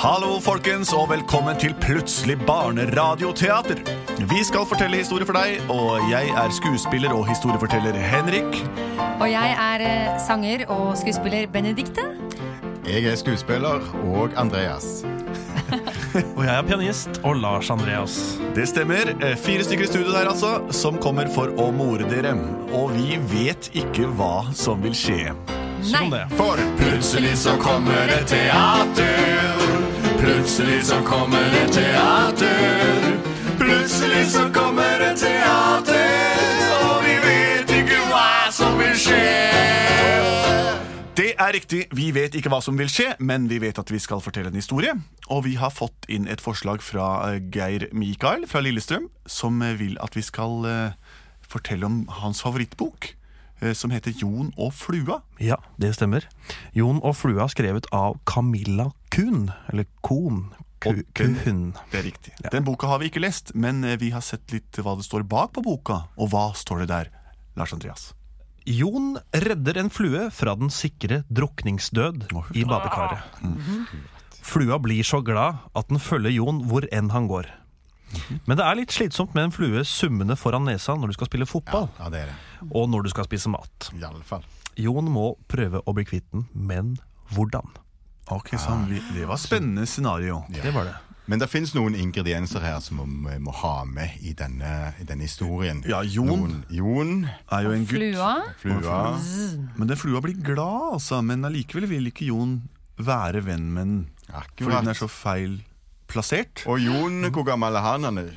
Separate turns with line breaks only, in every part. Hallo, folkens, og velkommen til Plutselig barneradioteater. Vi skal fortelle historier for deg, og jeg er skuespiller og historieforteller Henrik.
Og jeg er eh, sanger og skuespiller Benedikte.
Jeg er skuespiller og Andreas.
Og jeg er pianist og Lars Andreas.
Det stemmer. Eh, Fire stykker i studio der, altså, som kommer for å more dere. Og vi vet ikke hva som vil skje.
Nei,
Sånn det.
For plutselig så kommer det teater. Plutselig så kommer det teater. Plutselig så kommer det teater. Og vi vet ikke hva som vil skje.
Det er riktig. Vi vet ikke hva som vil skje, men vi vet at vi skal fortelle en historie. Og vi har fått inn et forslag fra eh, Geir Mikael fra Lillestrøm, som eh, vil at vi skal eh, fortelle om hans favorittbok, eh, som heter Jon og flua.
Ja, det stemmer. Jon og flua skrevet av Camilla Kuhn. Eller Kohn. Ku-
Og den-
Kuhn.
Det er riktig.
Ja.
Den boka har vi ikke lest, men eh, vi har sett litt hva det står bak på boka. Og hva står det der, Lars Andreas?
Jon redder en flue fra den sikre drukningsdød i badekaret. Flua blir så glad at den følger Jon hvor enn han går. Men det er litt slitsomt med en flue summende foran nesa når du skal spille fotball,
Ja, det er det.
og når du skal spise mat.
I alle fall.
Jon må prøve å bli kvitt den, men hvordan?
Ok, så han, vi- Det var spennende scenario.
Det var det.
Men det finnes noen ingredienser her som vi må ha med i denne, i denne historien.
Ja, Jon.
Noen, Jon,
Er jo en gutt.
flua.
flua.
Men den flua blir glad, altså. Men allikevel vil ikke Jon være venn med den. Fordi den er
Akkurat.
så feil plassert.
Og Jon, hvor gammel er han? Han er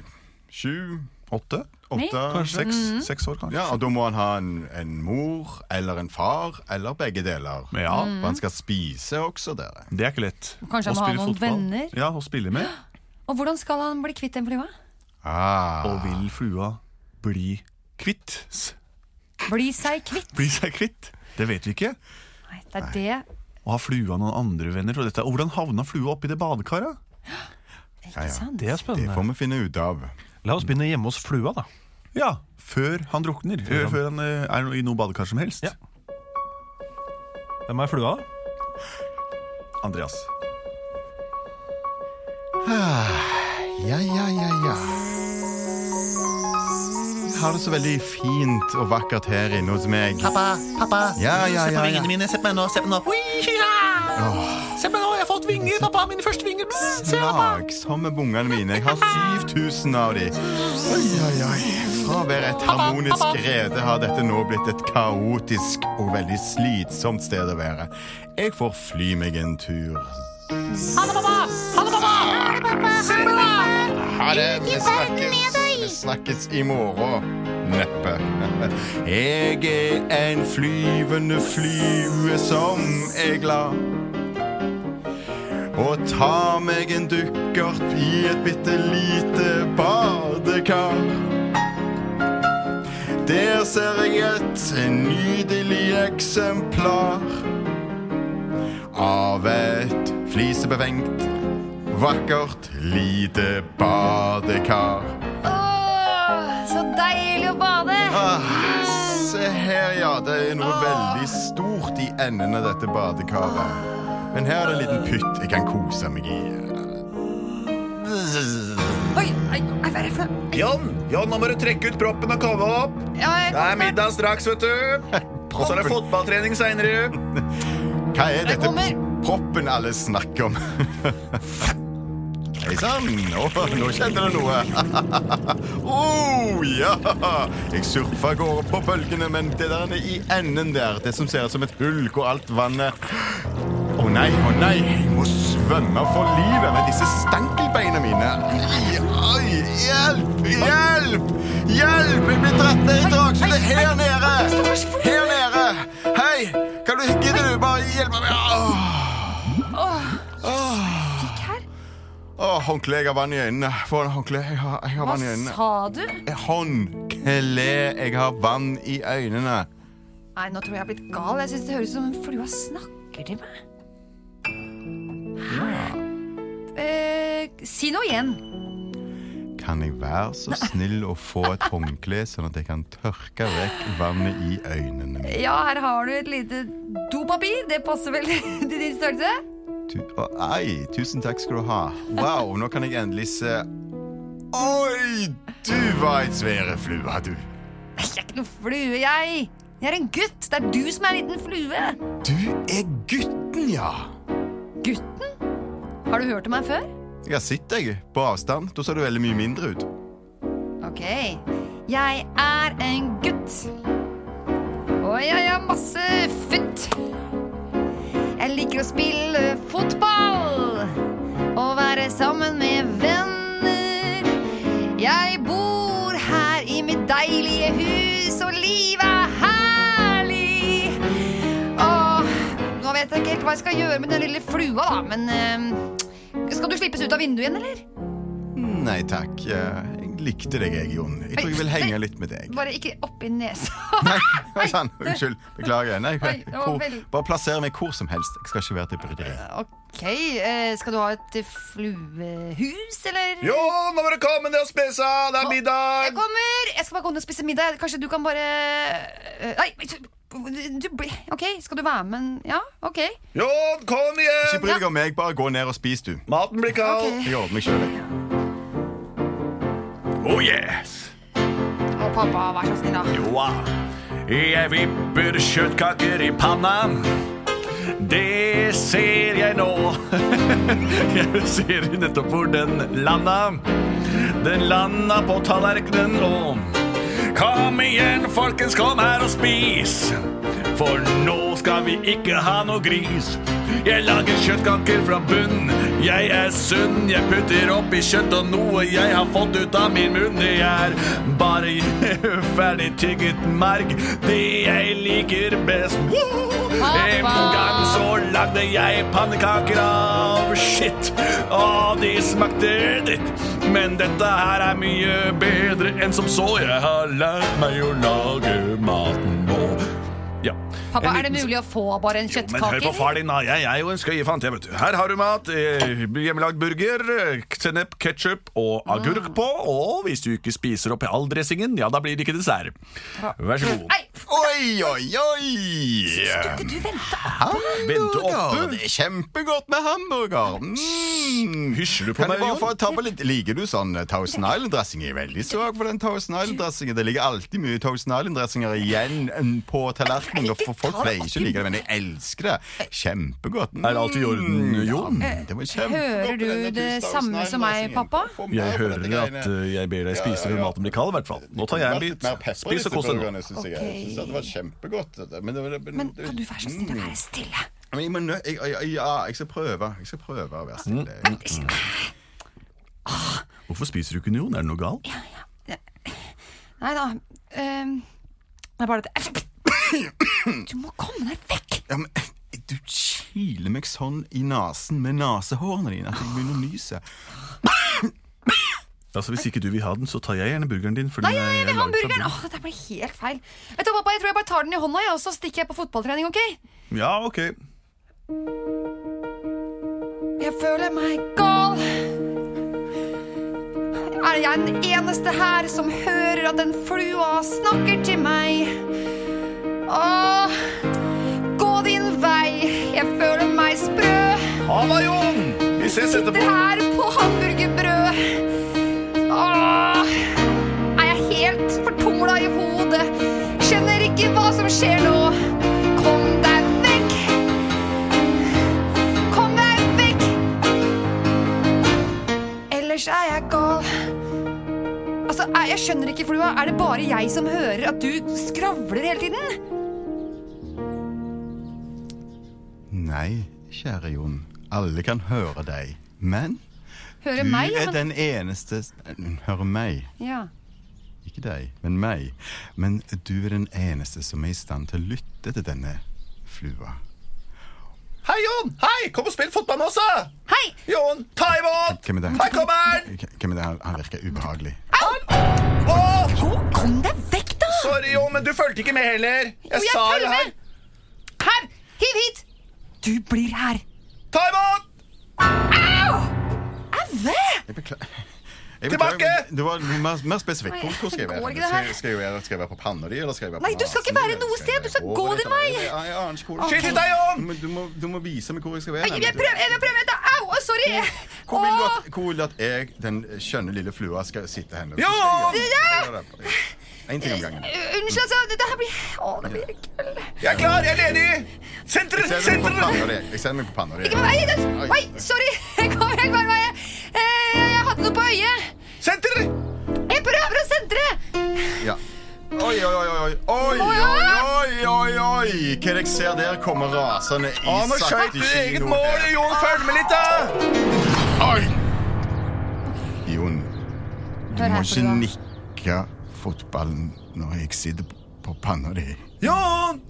sju?
Åtte?
Åtte?
Kanskje seks?
Mhm.
Seks år, kanskje.
Ja, og da må han ha en, en mor eller en far eller begge deler.
Ja.
For han skal spise også, dere.
Det er ikke lett.
Kanskje han
Å
må ha
spille
noen
fotball.
venner?
Ja, og spille med.
Og hvordan skal han bli kvitt den flua?
Og
Ah.
vil flua bli kvitt? s-
Bli seg kvitt.
Bli seg kvitt? Det vet vi ikke.
Nei, det er det.
Og har flua noen andre venner? Og dette, og hvordan havna flua oppi det badekaret?
ja.
Ikke sant?
Det er
Det
spennende.
får vi finne ut av.
La oss begynne hjemme hos flua, da.
Ja, før han drukner. Før, før han eh, er i noe badekar som helst.
Ja. Hvem er flua? da?
Andreas.
Ah, Ja, ja, ja, ja. Jeg har det så veldig fint og vakkert her inne hos meg.
Pappa, pappa,
Ja, ja,
se på
ja, ja.
vingene mine. Se på meg nå. Se på meg nå. Oi, hurra! Se på meg nå, jeg har fått vinger. Pappa, mine første vinger. Bzz, Se, pappa.
Lagsomme bungene mine. Jeg har 7000 av de. Oi, oi, oi. Fra å være et harmonisk rede har dette nå blitt et kaotisk og veldig slitsomt sted å være. Jeg får fly meg en tur.
Ha det, pappa. Ha det, pappa. Ha det, pappa. Ha det, pappa.
Ha det. Vi snakkes, vi snakkes i morgen. Neppe. Jeg er en flyvende flue som er glad. Og tar meg en dukkert i et bitte lite badekar. Der ser jeg et nydelig eksemplar av et flisebevengt, vakkert lite badekar.
Åh, så deilig å bade!
Ah, se her, ja. Det er noe veldig stort i enden av dette badekaret. Men her er det en liten pytt jeg kan kose meg i.
Oi, ei, ei, hva er det for noe?
Jon, Jon, nå må du trekke ut proppen og komme opp.
Ja, jeg-
middag straks, vet du.
Proppen.
fotballtrening seinere.
Hva er
Jeg
dette
kommer.
proppen alle snakker om? Hei sann! Å, nå skjedde det noe. oh, ja! Jeg surfa av gårde på bølgene, men det der nede i enden der, det som ser ut som et hull hvor alt vannet Å nei, å nei! Jeg må svømme for livet med disse stankelbeina mine. Oi, hjelp! Hjelp! Hjelp! Jeg blir dratt ned i dragsuget her nede! Her nede! Hei! Kan du gidde du bare hjelpe meg? Åh.
Åh,
Å, håndkle. Jeg har vann i øynene. Få en håndkle. Jeg har, jeg har
Hva
vann i øynene.
sa du?
Håndkle. Jeg har vann i øynene.
Nei, nå tror jeg jeg har blitt gal. Jeg synes det høres ut som en flue snakker til meg. Hæ? Eh, si noe igjen.
Kan jeg være så snill å få et håndkle, sånn at jeg kan tørke vekk vannet i øynene mine?
Ja, her har du et lite dopapir. Det passer vel til din størrelse?
Tu Å, ei, tusen takk skal du ha. Wow, nå kan jeg endelig se Oi, du var ei svære flue, du.
Jeg er ikke noe flue, jeg. Jeg er en gutt. Det er du som er en liten flue.
Du er gutten, ja.
Gutten? Har du hørt om meg før?
Jeg har sett deg på avstand. Da ser du veldig mye mindre ut.
Ok. Jeg er en gutt. Og jeg har masse futt. Jeg liker å spille fotball og være sammen med venner. Jeg bor her i mitt deilige hus, og livet er herlig. Åh, nå vet jeg ikke helt hva jeg skal gjøre med den lille flua, da, men eh, Skal du slippes ut av vinduet igjen, eller?
Nei takk. Jeg jeg likte deg, jeg, Jon. Jeg tror jeg vil henge litt med deg.
Bare ikke oppi nesa.
Nei, oi sann. Unnskyld. Beklager. Nei,
Oi, det var
hvor,
veldig-
bare plasser meg hvor som helst. Jeg skal ikke være til bryderi.
Ok, eh, skal du ha et eh, fluehus, eller?
Jo, nå må du komme ned og spise! Det er
Jeg
middag!
kommer! Jeg skal bare gå ned og spise middag. Kanskje du kan bare eh, Nei, du, blir- ok, skal du være med? en- Ja, ok.
Jon, kom igjen!
Ikke bry deg om meg, bare gå ned og spis, du.
Maten blir kald.
Ok.
Jeg ordner meg sjøl.
Oh yes!
Å, pappa, vær så snill, da.
Joa. Jeg vipper kjøttkaker i panna. Det ser jeg nå. Jeg ser nettopp hvor den landa. Den landa på tallerkenen nå. Kom igjen, folkens, kom her og spis. For nå skal vi ikke ha noe gris. Jeg lager kjøttkaker fra bunn. Jeg er sunn. Jeg putter oppi kjøtt og noe jeg har fått ut av min munn. Det er bare ferdig tygget merg. Det jeg liker best. Woo! En gang så lagde jeg pannekaker av skitt. Og de smakte dritt. Men dette her er mye bedre enn som så. Jeg har lært meg å lage maten nå. Ja.
Pappa,
En
er det
liten-
mulig å få bare en
men hør på
kjøttkake?
far din, da. Jeg er jo en skøyefant. Jeg, vet du. Her har du mat. Eh, hjemmelagd burger, eh, sennep, ketsjup og agurk på. Og hvis du ikke spiser opp all dressingen, ja, da blir det ikke dessert. Vær så god.
Nei,
Oi, oi, oi!
du venter.
Vente
Hamburger!
oppe.
Ah, Det er kjempegodt med hamburger. Mm.
Hysjer du på
Kan
meg,
jeg bare
Jon?
få tabbe litt? Liker du sånn eh, Thousand Island-dressing? Jeg er veldig svak for den Thousand Island-dressingen. Det ligger alltid mye Thousand Island-dressinger igjen mm, på tallerkenen. og For folk pleier ikke å like det, men jeg elsker det. Kjempegodt. Mm.
Er alt i orden,
Ja,
Jon?
mm, det var kjempegodt
Hører
med
du
denne
det
Thousand
samme
Island-dressingen.
som meg, pappa?
Få mer
Jeg
på dette
hører at
greiene.
eh, jeg ber deg spise
Ja, ja,
før
ja.
maten blir kald, i hvert fall. Nå tar jeg
Det
en
kunne vært
bit.
mer pepper i
Spis og
disse
kos deg nå.
burgerne, synes jeg. Jeg synes det var kjempegodt. dette, Men, det, det, Mm.
Men kan du være så snill å
Mm.
være stille?
Men jeg, må nø- jeg, jeg, jeg, ja, jeg skal prøve. Jeg skal prøve å
Mm.
være stille.
Hvorfor spiser du ikke noe, Jon? Er det noe galt?
Nei da. ehm, det er bare dette Du må komme deg vekk!
Ja, men, eh, du kiler meg sånn i nesen med nesehårene dine at jeg begynner å nyse.
Altså, Hvis ikke du vil ha den, så tar jeg gjerne burgeren din. Fordi
Nei, jeg,
jeg
vil ha hamburgeren! Åh, dette ble helt feil. Vet du, hva, pappa, Jeg tror jeg bare tar den i hånda, jeg, og så stikker jeg på fotballtrening, OK?
Ja, ok.
Jeg føler meg gal. Er jeg den eneste her som hører at den flua snakker til meg? Åh, gå din vei. Jeg føler meg sprø.
Halla, Jon! Vi ses
Sitter
etterpå.
her på hamburgerbrød. Åh, er jeg helt fortumla i hodet? Skjønner ikke hva som skjer nå. Kom deg vekk. Kom deg vekk. Ellers er jeg gal. Altså, er- jeg skjønner ikke, Flua. Er det bare jeg som hører at du skravler hele tiden?
Nei, kjære Jon. Alle kan høre deg. Men
Hører
du
meg? ja,
er
men-
den eneste s- Hører meg.
Ja.
Ikke deg, men meg. Men du er den eneste som er i stand til å lytte til denne flua.
Hei, Jon! Hei, Kom og spill fotball med oss, da!
Hei!
Jon, ta imot!
Hvem er det?
Her kommer han!
Hvem er det? Han- Han virker ubehagelig.
Å,
Kom deg vekk, da!
sorry, jo, men du fulgte ikke med heller. Jeg
jeg
sa
følger
det her.
med! Her! Hiv hit! Du blir her.
Ta imot!
Auve!
Jeg beklager. Jeg
Tilbake!
beklager, men Det var noe mer, mer spesifikt. Hvor, hvor skal jeg
Går
være?
ikke det her?
Skal, skal, jeg være skal jeg være på panna di, eller skal jeg være på
Nei, du skal ikke
nasen din,
være
eller
noe
jeg
sted, du skal
være
gå
over
din
eller-
vei.
Jeg, jeg aner ikke hvor.
Skyt deg, Jon!
Men Du, må, du må vise meg hvor jeg skal være.
Jeg, jeg
nemlig.
prøver, jeg prøver, vent da. Au, å, sorry.
Hvor vil du
Å,
at, hvor vil du at jeg, den skjønne lille flua, skal sitte hen?
Jo!
En ting om gangen.
øh, Unnskyld, altså. Dette her blir Å, det blir kul.
Jeg er klar, jeg er ledig! Senter,
Jeg sender meg på
senter!
panna di. Jeg sender meg på panna
Ikke meg.
di.
Oi, Oi, sorry. Jeg kom helt feil vei. Eh, Jeg hadde noe på øyet.
Senter!
Jeg prøver å sentre.
Ja. Oi, oi, oi, oi, oi,
Må jeg?
oi, oi, oi. Hva jeg ser der, kommer rasende i
Å, nå skjøt du eget mål, Jon. Følg med litt, da!
Oi! Jon, du
Hør
må
her, Frua.
ikke nikke fotballen når jeg sitter på panna di.
Jon!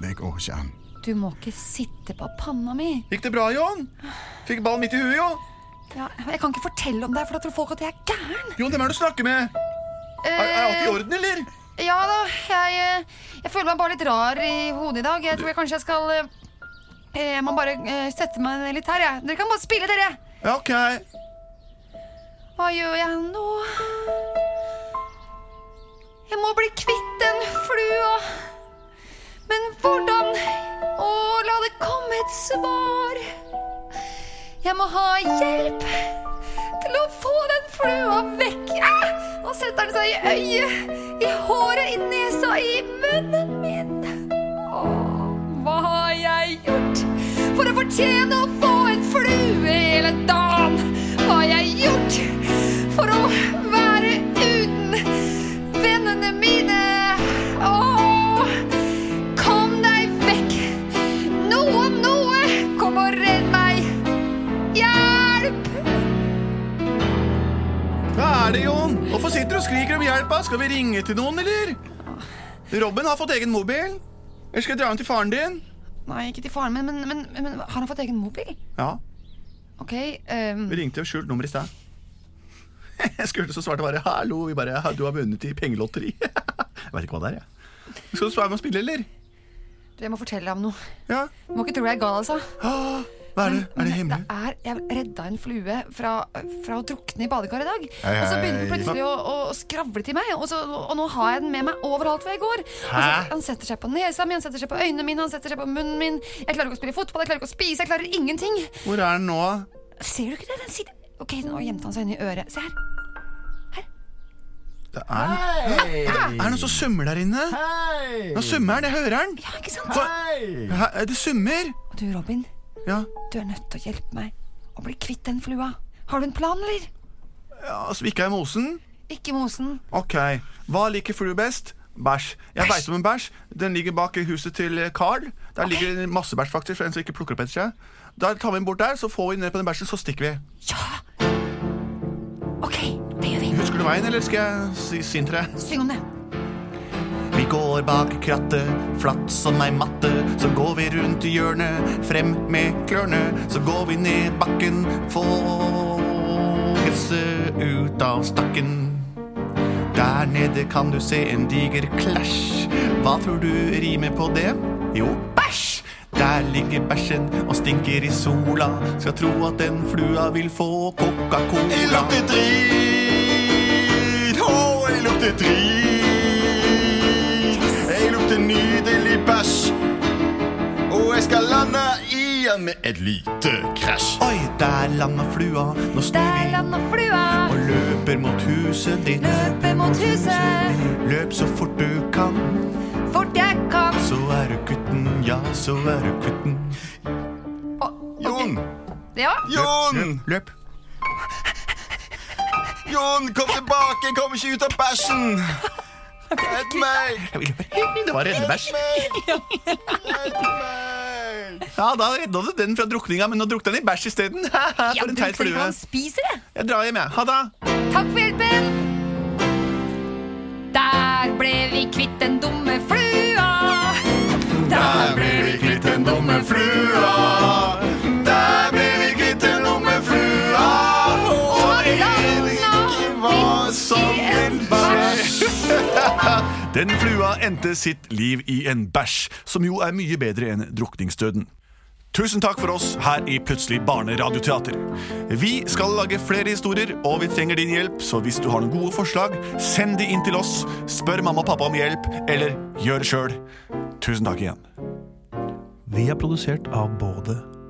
Det går ikke an.
Du må ikke sitte på panna mi.
Gikk det bra, Jon? Fikk ballen midt i huet, Jon.
Ja, jeg kan ikke fortelle om deg, for da tror folk at jeg er gæren.
Jon, hvem er det du snakker med? Er, er alt i orden, eller?
Eh, Ja da. Jeg, eh, jeg føler meg bare litt rar i hodet i dag. Jeg tror jeg kanskje jeg skal eh, Jeg må bare eh, sette meg ned litt her, jeg. Dere kan bare spille, dere.
Ja, ok.
Hva gjør jeg nå? Jeg må bli kvitt den flua. Men hvordan? Å, la det komme et svar. Jeg må ha hjelp til å få den flua vekk. Ah! Nå setter den seg i øyet, i håret, i nesa, i munnen min. Å, hva har jeg gjort for å fortjene å få en flue hele dagen? Hva har jeg gjort for å være uten vennene mine? Å, kom deg vekk! Noe om noe, kom og redd meg! Hjelp!
Hva er det, Jon? Hvorfor sitter du og skriker om hjelp? da? Skal vi ringe til noen, eller? Robin har fått egen mobil. Eller skal jeg dra hjem til faren din?
Nei, ikke til faren min, men, men, men har han fått egen mobil?
Ja,
Ok, ehm,
vi ringte jo skjult nummer i sted. Jeg skulle så svarte bare 'hallo', vi bare 'du har vunnet i pengelotteri'. Jeg vet ikke hva det er, jeg. Skal du svare med å spille, eller?
jeg må fortelle deg om noe.
Ja.
Du må ikke tro jeg er gal, altså.
Hva er det? Er det hemmelig?
Det er, jeg redda en flue fra, fra å drukne i badekaret i dag.
Hei,
Og så begynner
hei.
den plutselig å, å, å skravle til meg, og, så, og nå har jeg den med meg overalt hvor jeg går. Og så,
Hæ?
han setter seg på nesa mi, han setter seg på øynene mine, han setter seg på munnen min. Jeg klarer ikke å spille fotball, jeg klarer ikke å spise, jeg klarer ingenting.
Hvor er den nå?
Ser du ikke det? Den sitter Ok, nå gjemte han seg inni øret. Se her.
Det er den. Er det noen som summer der inne? Nå summer den, jeg hører den.
Ja, ikke sant?
Hei! Det summer.
Og du, Robin,
Ja.
du er nødt til å hjelpe meg å bli kvitt den flua. Har du en plan, eller?
ja, altså ikke er i mosen.
Ikke i mosen.
Ok, hva liker flue best? Bæsj. Jeg veit om en bæsj. Den ligger bak huset til eh, Carl. Der ligger det masse bæsj, faktisk, for en som ikke plukker opp etter seg. Da tar vi den bort der, så får vi ned på den bæsjen, så stikker vi.
Ja! Ok, det gjør vi.
Husker du veien, eller skal jeg si, si den til deg?
Syng om det.
Vi går bak krattet, flatt som ei matte. Så går vi rundt i hjørnet, frem med klørne. Så går vi ned bakken, få gresset ut av stakken. Der nede kan du se en diger clash. Hva tror du rimer på det? Jo, bæsj! Der ligger bæsjen og stinker i sola. Skal tro at den flua vil få
Jeg
Coca-Cola.
lukter drit! Å, jeg lukter drit! Jeg lukter nydelig bæsj. Og jeg skal lande igjen med et lite krasj.
Oi, der landa flua. Nå snur
Der
vi
landa flua.
og løper mot huset ditt.
Løpe mot huset
Løp så fort du kan,
fort jeg kan.
så er du gutten, ja, så er du gutten.
Å,
Jon!
ja,
Jon!
Løp.
Jon, kom tilbake! Jeg kommer ikke ut av bæsjen! Redd meg!
Jeg vil løpe. Det var reddebæsj.
Redd meg!
Ja, da redda du den fra drukninga, men nå drukte den i bæsj isteden. Haha,
ja
For en teit flue.
Han spiser det.
Jeg drar hjem, jeg. Ha det.
Takk for hjelpen. Der ble vi kvitt den dumme flua.
Der ble vi kvitt den dumme flua. Der ble vi kvitt den dumme flua.
Den flua endte sitt liv i en bæsj, som jo er mye bedre enn drukningsdøden. Tusen takk for oss her i Plutselig barneradioteater. Vi skal lage flere historier, og vi trenger din hjelp, så hvis du har noen gode forslag, send de inn til oss, spør mamma og pappa om hjelp, eller gjør det sjøl. Tusen takk igjen.
Vi er produsert av både